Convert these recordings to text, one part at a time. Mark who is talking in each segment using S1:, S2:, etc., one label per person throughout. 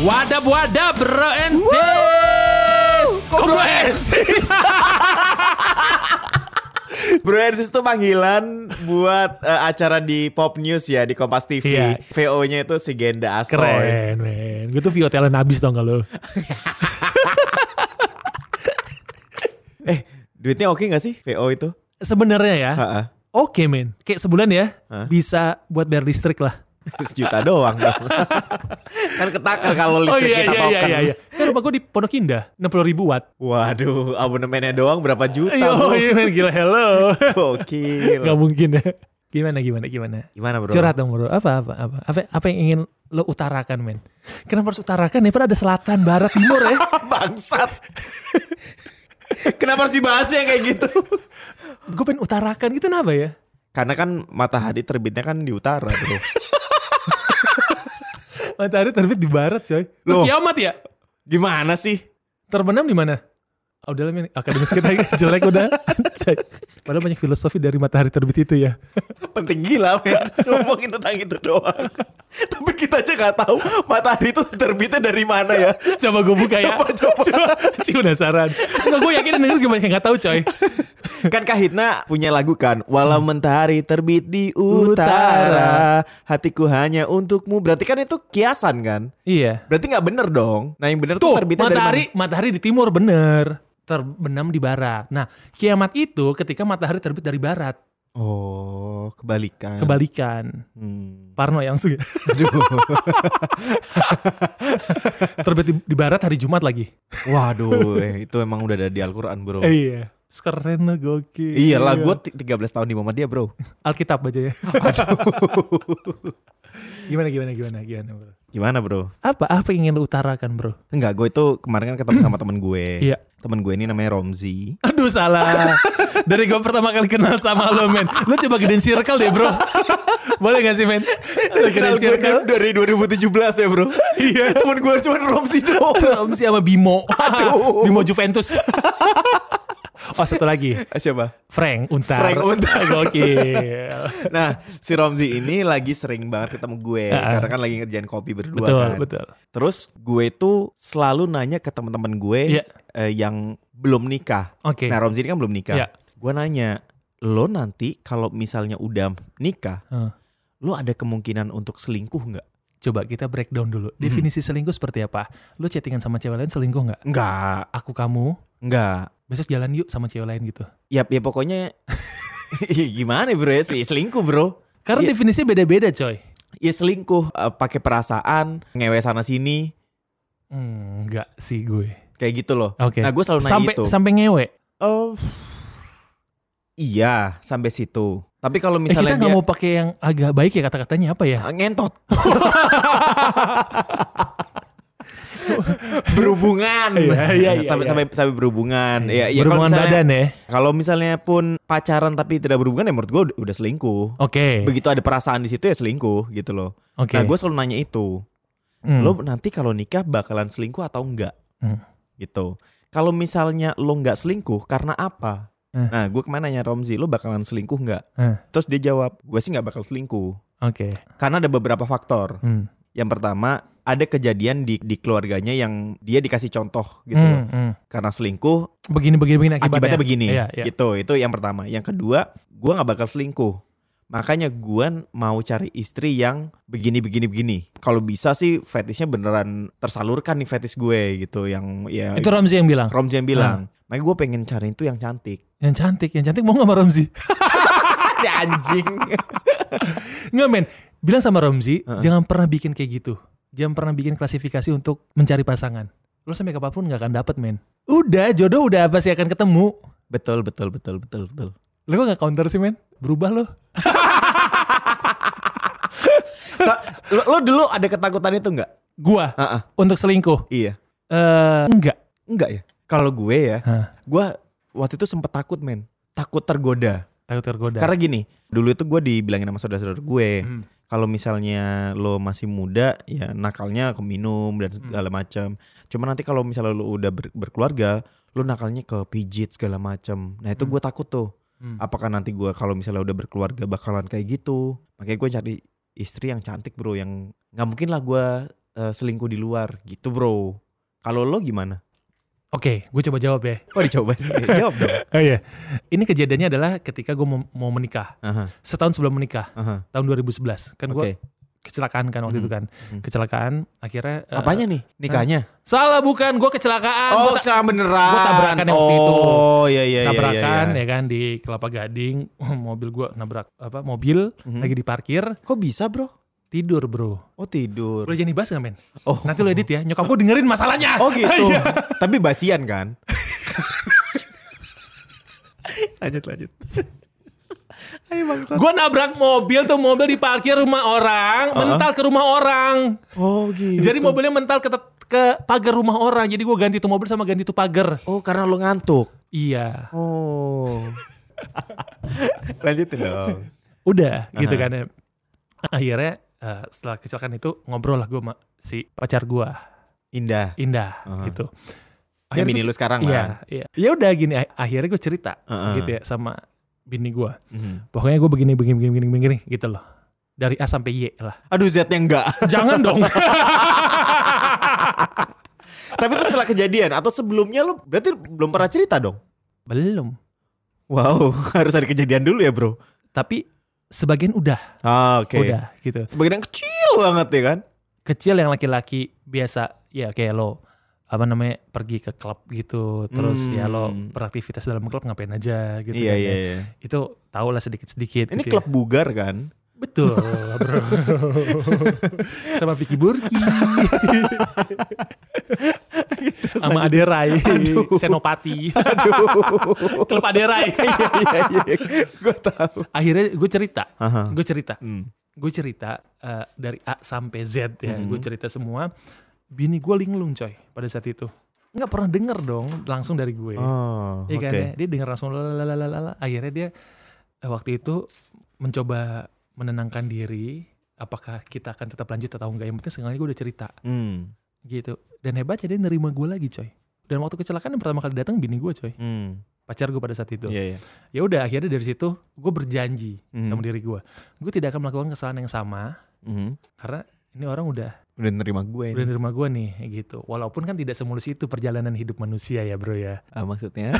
S1: Wadab wadab bro and sis. Kobro and sis.
S2: Bro Ensis itu panggilan buat eh, acara di Pop News ya di Kompas TV.
S1: Iya.
S2: VO-nya itu si Genda Asoy.
S1: Keren men. Gue tuh Vio Talent habis tau gak lo.
S2: Eh, duitnya oke nggak sih VO itu?
S1: Sebenarnya ya.
S2: Ha-ha.
S1: Oke men. Kayak sebulan ya. Bisa buat bayar listrik lah.
S2: Sejuta doang dong. kan ketakar kalau
S1: Oh
S2: listrik
S1: iya
S2: kita
S1: iya iya
S2: token.
S1: iya. iya. Kan rumah gue di Pondok Indah. 60 ribu watt.
S2: Waduh, abonemennya doang berapa juta?
S1: Yo,
S2: bro?
S1: iya men. Gila hello.
S2: Gokil.
S1: gak mungkin ya. Gimana gimana gimana.
S2: Gimana bro?
S1: Curhat dong bro. Apa apa apa. Apa apa yang ingin lo utarakan men. Kenapa harus utarakan ya? Padahal ada selatan, barat, timur ya.
S2: Bangsat. Kenapa harus dibahas ya kayak gitu?
S1: gue pengen utarakan gitu kenapa ya?
S2: Karena kan matahari terbitnya kan di utara bro.
S1: Matahari terbit di barat coy. Lu
S2: Loh.
S1: kiamat ya?
S2: Gimana sih?
S1: Terbenam di mana? Oh, udah lah men, akademis kita jelek udah. Anjay. Padahal banyak filosofi dari matahari terbit itu ya.
S2: penting gila men ngomongin tentang itu doang tapi kita aja nggak tahu matahari itu terbitnya dari mana ya
S1: Coba gue buka ya.
S2: Coba, coba.
S1: Cih penasaran. Enggak gue yakin yang denger juga banyak yang gak tahu coy.
S2: kan Kahitna punya lagu kan walau mentahari terbit di utara hatiku hanya untukmu berarti kan itu kiasan kan
S1: Iya.
S2: berarti nggak bener dong nah yang bener tuh,
S1: Tuh,
S2: terbitnya
S1: matahari
S2: dari
S1: matahari di timur bener. Terbenam di barat. Nah, kiamat itu ketika matahari terbit dari barat.
S2: mana oh kebalikan
S1: Kebalikan.
S2: Hmm.
S1: Parno yang langsung ya.
S2: Aduh.
S1: Terbit di, di barat hari Jumat lagi.
S2: waduh eh, itu emang udah ada di Al-Quran bro Iya
S1: Eh, iya. Keren lah gokil.
S2: iyalah gue 13 tahun di Muhammadiyah bro
S1: Alkitab aja ya. gimana gimana gimana gimana bro?
S2: gimana bro
S1: Apa apa yang ingin lu utarakan bro?
S2: Enggak, gue itu kemarin kan ketemu sama temen gue.
S1: Iya.
S2: Temen gue ini namanya Romzi.
S1: Aduh salah. Dari gue pertama kali kenal sama lo men. Lo coba gedein circle deh bro. Boleh gak sih men? Lo gedein
S2: Kenal kan? gue
S1: circle.
S2: dari 2017 ya bro.
S1: Iya.
S2: temen gue cuma Romzi doang.
S1: Om sih sama Bimo.
S2: Aduh.
S1: Bimo Juventus. oh satu lagi.
S2: Ah, Siapa?
S1: Frank Untar.
S2: Frank Untar.
S1: Gokil.
S2: Nah, si Romzi ini lagi sering banget ketemu gue.
S1: Ah.
S2: Karena kan lagi ngerjain kopi berdua
S1: betul,
S2: kan.
S1: betul.
S2: Terus gue tuh selalu nanya ke teman-teman gue
S1: Iya.
S2: eh, yang belum nikah.
S1: Oke.
S2: Nah, Romzi ini kan belum nikah.
S1: Iya.
S2: Gue nanya, lo nanti kalau misalnya udah nikah,
S1: Hah.
S2: lo ada kemungkinan untuk selingkuh nggak?
S1: Coba kita breakdown
S2: Hmm.
S1: dulu. Definisi selingkuh seperti apa? Lo chattingan sama cewek lain selingkuh nggak?
S2: Enggak,
S1: Aku kamu,
S2: enggak.
S1: besok jalan yuk sama cewek lain gitu.
S2: Ya, ya pokoknya ya gimana bro ya sel- selingkuh bro.
S1: Karena
S2: Iya.
S1: definisinya beda-beda coy.
S2: Ya selingkuh eh, pakai perasaan, ngewe sana sini
S1: Hmm, Enggak sih gue.
S2: kayak gitu loh.
S1: Oke.
S2: Nah gue selalu nanya
S1: Sampai
S2: itu.
S1: sampai ngewe. Eh,
S2: Oh, iya sampai situ. Tapi kalau
S1: Eh, kita
S2: misalnya
S1: nggak
S2: dia
S1: mau pakai yang agak baik ya kata-katanya apa ya?
S2: Ah, ngentot. berhubungan.
S1: Iya, iya, iya,
S2: sampai
S1: iya.
S2: sampai sampai berhubungan. Iya, iya, kalau
S1: Berhubungan
S2: misalnya-
S1: badan ya.
S2: Kalau misalnya pun pacaran tapi tidak berhubungan ya menurut gue udah selingkuh.
S1: Oke.
S2: Begitu ada perasaan di situ ya selingkuh gitu loh.
S1: Oke.
S2: Nah gue selalu nanya itu.
S1: Hmm.
S2: lo nanti kalau nikah bakalan selingkuh atau enggak
S1: Hmm.
S2: gitu kalau misalnya lo nggak selingkuh karena apa
S1: Eh.
S2: nah gue kemana nanya Romzi lo bakalan selingkuh nggak
S1: Eh.
S2: terus dia jawab gue sih nggak bakal selingkuh
S1: Oke.
S2: karena ada beberapa faktor
S1: Hmm.
S2: yang pertama ada kejadian di di keluarganya yang dia dikasih contoh gitu
S1: Hmm,
S2: loh
S1: hmm.
S2: karena selingkuh
S1: Begini begini begini akibatnya.
S2: akibatnya begini
S1: Iya, iya.
S2: gitu itu yang pertama yang kedua gue nggak bakal selingkuh makanya gue mau cari istri yang begini begini begini kalau bisa sih fetishnya beneran tersalurkan nih fetish gue gitu yang ya
S1: Itu Ramzi yang bilang.
S2: Rom Jam bilang makanya gue pengen cari itu yang cantik
S1: Yang cantik, yang cantik mau nggak sama Ramzi?
S2: si anjing
S1: Nggak men. Bilang sama Ramzi,
S2: Heeh.
S1: jangan pernah bikin kayak gitu. Jangan pernah bikin klasifikasi untuk mencari pasangan. Lo sampai kapanpun nggak akan dapet men. Udah, jodoh udah pasti akan ketemu.
S2: betul betul betul betul betul
S1: Lo kok gak counter sih men? Berubah lo.
S2: Ta- lo, lo dulu ada ketakutan itu nggak
S1: Gua
S2: Ah, ah,
S1: untuk selingkuh.
S2: iya
S1: Eh enggak.
S2: enggak ya kalau gue ya
S1: Hah,
S2: gue waktu itu sempet takut men takut tergoda
S1: takut tergoda.
S2: Karena gini, dulu itu gue dibilangin sama saudara-saudara gue,
S1: Nah. Hmm.
S2: kalau misalnya lo masih muda, ya nakalnya ke minum dan
S1: Hmm.
S2: segala macam. Cuma nanti kalau misalnya lo udah ber- berkeluarga, lo nakalnya ke pijit segala macam. Nah itu gue takut tuh.
S1: Hmm.
S2: Apakah nanti gue kalau misalnya udah berkeluarga bakalan kayak gitu? Makanya gue cari istri yang cantik bro, yang nggak mungkin lah gue eh, eh, selingkuh di luar gitu bro kalau lo gimana
S1: Oke, gue coba jawab ya.
S2: oh dicoba sih. jawab dong
S1: Oh iya. Ini kejadiannya adalah ketika gue mau, mau menikah.
S2: Aha,
S1: Setahun sebelum menikah,
S2: aha.
S1: tahun 2011. Kan gue
S2: Oke.
S1: kecelakaan kan waktu itu kan.
S2: Mhm.
S1: Kecelakaan, akhirnya... eh,
S2: Apanya nih nikahnya?
S1: Salah bukan, gue kecelakaan.
S2: oh,
S1: Ah, Gua ta-
S2: kecelakaan beneran.
S1: gua tabrakan yang waktu itu.
S2: Oh, iya iya iya.
S1: tabrakan
S2: iya, iya.
S1: ya kan di Kelapa Gading. mobil gue nabrak apa mobil,
S2: Mhm.
S1: lagi diparkir,
S2: Kok bisa, Bro?
S1: tidur bro.
S2: Oh, tidur.
S1: Boleh jadi bahas gak men?
S2: Oh.
S1: Nanti lo edit ya, nyokap gue dengerin masalahnya.
S2: Oh, gitu.
S1: Iya.
S2: Tapi basian kan? lanjut lanjut. Ayo bangsa.
S1: Gue nabrak mobil tuh mobil diparkir rumah orang, mental ke rumah orang.
S2: Oh, gitu.
S1: Jadi mobilnya mental ke ke pagar rumah orang. Jadi gue ganti tuh mobil sama ganti tuh pagar.
S2: Oh, karena lo ngantuk.
S1: Iya.
S2: Oh. Lanjutin dong.
S1: Udah gitu kan ya. Akhirnya eh, setelah kecelakaan itu ngobrol lah gue sama si pacar gue
S2: Indah.
S1: Indah
S2: Aha.
S1: gitu.
S2: Ya
S1: Akhirnya
S2: bini lu sekarang
S1: Iya,
S2: kan?
S1: iya. Ya udah gini, a- akhirnya gue cerita
S2: Heeh.
S1: gitu ya sama bini gue.
S2: Mhm.
S1: Pokoknya gue begini, begini, begini, begini, begini gitu loh. Dari A sampai Y lah.
S2: Aduh, Z-nya enggak.
S1: Jangan dong.
S2: Tapi itu setelah kejadian atau sebelumnya lu berarti belum pernah cerita dong?
S1: Belum.
S2: Wow, harus ada kejadian dulu ya bro.
S1: Tapi sebagian udah,
S2: Ah, oke.
S1: udah gitu.
S2: Sebagian yang kecil banget ya kan?
S1: Kecil yang laki-laki biasa, ya kayak lo apa namanya pergi ke klub gitu, terus ya lo
S2: Hmm.
S1: beraktivitas dalam klub ngapain aja gitu.
S2: iya
S1: kan
S2: iya
S1: ya.
S2: iya.
S1: Itu tau lah sedikit-sedikit.
S2: Ini
S1: gitu ya.
S2: klub bugar kan?
S1: Betul, bro. Sama Vicky Burki. Sama Aderai,
S2: Gitu, Aduh.
S1: Senopati.
S2: Aduh.
S1: Klub Aderai.
S2: Iya iya iya. Gue tahu.
S1: Akhirnya gue cerita.
S2: Aha.
S1: Gue cerita.
S2: Hmm.
S1: Gue cerita eh, dari A sampai Z ya.
S2: Mhm.
S1: Gue cerita semua. Bini gue linglung coy pada saat itu. Nggak pernah denger dong langsung dari gue.
S2: Oh,
S1: Iya
S2: oke.
S1: kan ya? Dia denger langsung lalalala. Akhirnya dia eh, waktu itu mencoba menenangkan diri. Apakah kita akan tetap lanjut atau enggak. Yang penting seenggaknya gue udah cerita.
S2: Hmm.
S1: gitu dan hebatnya dia nerima gue lagi coy dan waktu kecelakaan yang pertama kali datang bini gue coy
S2: Hmm.
S1: pacar gue pada saat itu
S2: Iya iya.
S1: ya udah akhirnya dari situ gue berjanji
S2: Hmm.
S1: sama diri gue gue tidak akan melakukan kesalahan yang sama
S2: Mhm.
S1: karena ini orang udah
S2: Udah nerima gue ini.
S1: udah nerima gue nih gitu walaupun kan tidak semulus itu perjalanan hidup manusia ya bro ya
S2: Ah, maksudnya.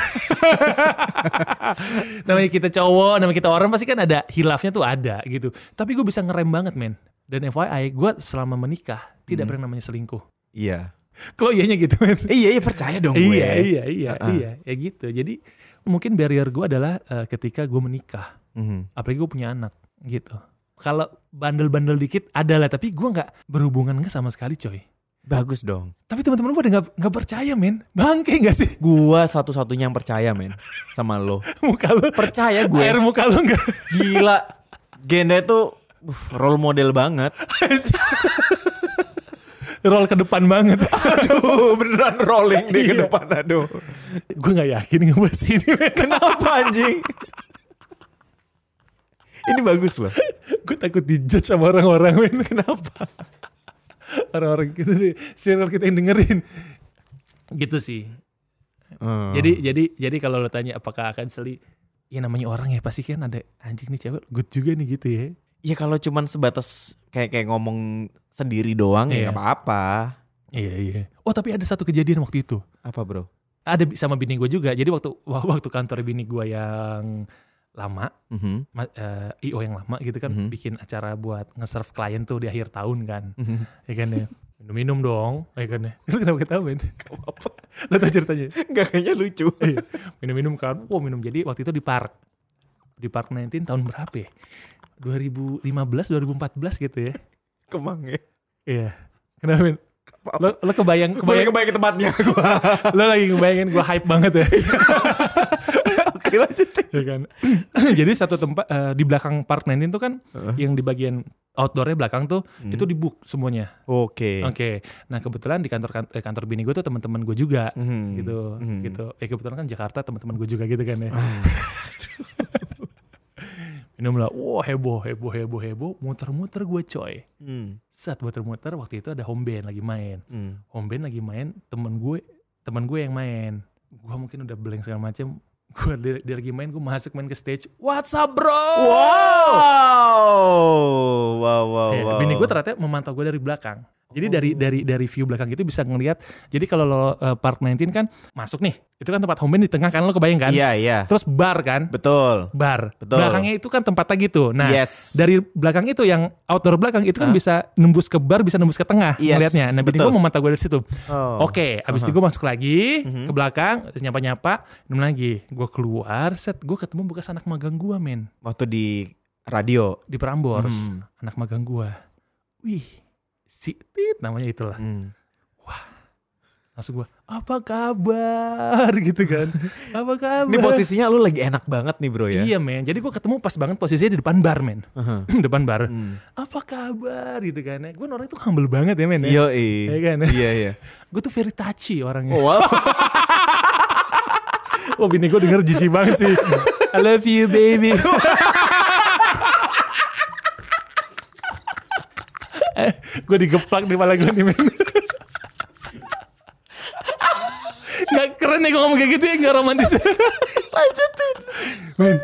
S1: namanya kita cowok namanya kita orang pasti kan ada hilafnya tuh ada gitu tapi gue bisa ngerem banget men dan FYI gue selama menikah tidak
S2: Hmm.
S1: pernah namanya selingkuh
S2: iya.
S1: kalau iyanya gitu men
S2: Eh, iya iya percaya dong gue.
S1: Iya iya iya
S2: Uh-uh.
S1: iya ya gitu. Jadi mungkin barrier gue adalah eh, ketika gue menikah,
S2: Mhm.
S1: apalagi gue punya anak gitu. Kalau bandel-bandel dikit ada lah, tapi gue nggak berhubungan nggak sama sekali coy.
S2: Bagus dong.
S1: Tapi teman-teman gue udah nggak nggak percaya men, bangke nggak sih
S2: Gua satu-satunya yang percaya men sama lo.
S1: muka lo?
S2: Percaya gue.
S1: Air muka lo nggak?
S2: Gila. Genda tuh uh, role model banget.
S1: Roll ke depan banget.
S2: Aduh, beneran rolling dia ke
S1: Iya.
S2: depan. Aduh.
S1: gue nggak yakin ngebahas ini men.
S2: Kenapa anjing? Ini bagus loh.
S1: gue takut dijudge sama orang-orang men kenapa orang-orang gitu deh serial kita yang dengerin gitu sih
S2: Hmm.
S1: jadi jadi jadi kalau lo tanya apakah akan seli ya namanya orang ya pasti kan ada anjing nih cewek good juga nih gitu ya
S2: ya kalau cuman sebatas kayak kayak ngomong sendiri doang
S1: Iya.
S2: ya nggak apa-apa.
S1: iya iya oh tapi ada satu kejadian waktu itu
S2: Apa bro?
S1: ada bi- sama bini gue juga jadi waktu wa- waktu kantor bini gue yang lama
S2: Mhm.
S1: ma- eh, io yang lama gitu kan
S2: Mhm.
S1: bikin acara buat nge-serve klien tuh di akhir tahun kan
S2: Mhm.
S1: ya kan ya minum-minum dong ya kan ya lu kenapa ketahuan lo tau ceritanya
S2: Nggak kayaknya lucu.
S1: Iya. minum-minum kan wow minum jadi waktu itu di park di park 19 tahun berapa ya 2015 2014 gitu ya
S2: Kemang ya.
S1: iya kenapa Min? lo, lo kebayang
S2: Boleh
S1: kebayang
S2: kebayang ke tempatnya gua.
S1: lo lagi ngebayangin gue hype banget ya
S2: Oke lanjut.
S1: ya kan jadi satu tempat eh, di belakang park 19 tuh kan
S2: Heeh.
S1: yang di bagian outdoornya belakang tuh
S2: Hmm.
S1: itu di book semuanya
S2: Oke.
S1: oke nah kebetulan di kantor kan- eh, kantor bini gue tuh teman-teman gue juga
S2: Mhm.
S1: gitu
S2: Mhm.
S1: gitu ya kebetulan kan Jakarta teman-teman gue juga gitu kan ya minum lah wah heboh heboh heboh heboh muter-muter gue coy
S2: Mhm.
S1: saat muter-muter waktu itu ada home band lagi main
S2: Mhm.
S1: home band lagi main temen gue temen gue yang main gue mungkin udah blank segala macem gue dia, dia lagi main gue masuk main ke stage what's up bro
S2: Wow,
S1: Eh,
S2: wow, wow, wow. Oh,
S1: Iya, bini gue ternyata memantau gue dari belakang Jadi dari dari dari view belakang itu bisa ngelihat. Jadi kalau lo eh, Park 19 kan masuk nih, itu kan tempat home band di tengah kan lo kebayang kan?
S2: Iya, iya.
S1: Terus bar kan?
S2: Betul.
S1: Bar.
S2: Betul.
S1: Belakangnya itu kan tempat lagi tuh. Nah,
S2: yes.
S1: dari belakang itu yang outdoor belakang itu kan
S2: Hah?
S1: bisa nembus ke bar, bisa nembus ke tengah
S2: Yes,
S1: ngelihatnya. Nah, bini
S2: betul. Mhm.
S1: gue mau mata gue dari situ.
S2: Oh.
S1: Oke, abis itu gue masuk lagi ke belakang, nyapa-nyapa, minum lagi. Gue keluar, set, gue ketemu bekas anak magang gue men.
S2: Waktu di radio.
S1: Di Prambors,
S2: Hmm.
S1: anak magang gue. Wih, si Tit namanya itulah.
S2: Hmm.
S1: Langsung gue, apa kabar gitu kan. apa kabar?
S2: Ini posisinya lu lagi enak banget nih, Bro ya.
S1: Iya men, jadi gue ketemu pas banget posisinya di depan bar men.
S2: Aha.
S1: depan bar.
S2: Hmm.
S1: Apa kabar gitu kan. Gue orang itu humble banget ya men. Ya.
S2: Yo,
S1: Iya Oh.
S2: iya.
S1: kan?
S2: Iya, iya.
S1: Gue tuh very touchy orangnya.
S2: Oh, Wow.
S1: Wah bini gue denger jijik banget sih. I love you baby. gue Eh, digeplak di kepala gue nih men. gak keren ya gue ngomong kayak gitu ya, gak romantis. Lanjutin. Men,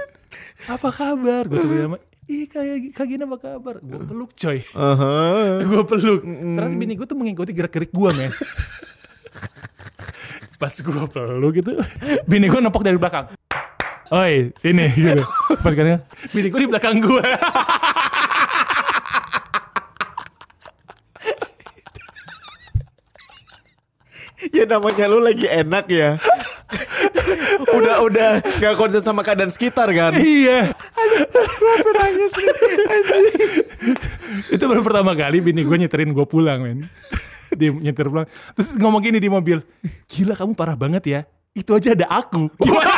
S1: apa kabar? Gue suka sama, ih kayak Kak Gina apa kabar? Gue peluk coy.
S2: Aha.
S1: gue peluk. Ternyata bini gue tuh mengikuti gerak-gerik gue men. Pas gue peluk gitu, bini gue nepok dari belakang. Oi, sini gitu. Pas kan bini gue di belakang gue.
S2: Ya namanya lu lagi enak ya. udah udah nggak konsen sama keadaan sekitar kan.
S1: iya. Itu baru pertama kali bini gue nyeterin gue pulang men. Dia nyetir pulang. Terus ngomong gini di mobil. Gila kamu parah banget ya. Itu aja ada aku. Gimana?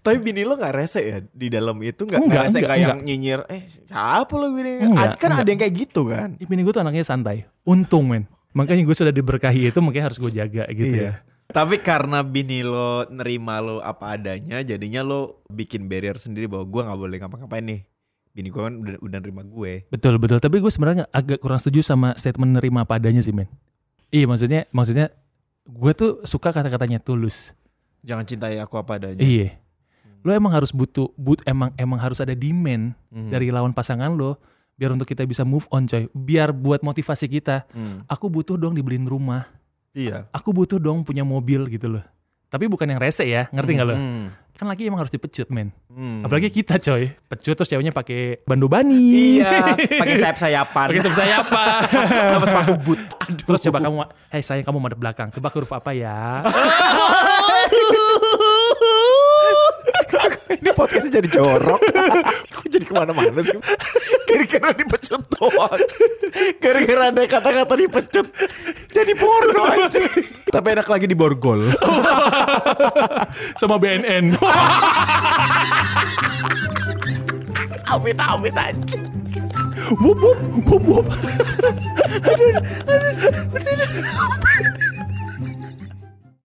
S2: Tapi bini lo nggak rese ya di dalam itu nggak
S1: Enggak,
S2: nggak rese
S1: enggak,
S2: kayak
S1: enggak.
S2: yang nyinyir. Eh siapa lo bini?
S1: Enggak,
S2: Ad- kan
S1: enggak.
S2: ada yang kayak gitu kan.
S1: Ih, Bini gue tuh anaknya santai. Untung men. Makanya gue sudah diberkahi itu makanya harus gue jaga gitu
S2: Iya.
S1: ya.
S2: Tapi karena bini lo nerima lo apa adanya, jadinya lo bikin barrier sendiri bahwa gue nggak boleh ngapa-ngapain nih. Bini gue kan udah, udah nerima gue.
S1: Betul betul. Tapi gue sebenarnya agak kurang setuju sama statement nerima padanya sih men. Iya maksudnya maksudnya gue tuh suka kata-katanya tulus.
S2: Jangan cintai aku apa adanya.
S1: Iya. Lo emang harus butuh but emang emang harus ada demand
S2: Mhm.
S1: dari lawan pasangan lo biar untuk kita bisa move on coy. Biar buat motivasi kita.
S2: Hmm.
S1: Aku butuh dong dibeliin rumah.
S2: Iya.
S1: Aku butuh dong punya mobil gitu loh. Tapi bukan yang rese ya, ngerti nggak lo?
S2: Hmm.
S1: Kan lagi emang harus dipecut men.
S2: Hmm.
S1: Apalagi kita coy, pecut terus ceweknya pakai bandu bani.
S2: Iya, pakai sayap-sayapan.
S1: Pakai sayap apa?
S2: Sama sepatu boot.
S1: Terus coba kamu, hei sayang kamu madep belakang. Coba huruf apa ya?
S2: Ini podcastnya jadi jorok. Kok jadi kemana-mana sih? Gara-gara dipecut doang. Gara-gara ada kata-kata dipecut. Jadi porno aja. Tapi enak lagi di borgol.
S1: Sama BNN.
S2: Amit-amit aja.
S1: Wup, wup, wup, wup.
S2: Aduh,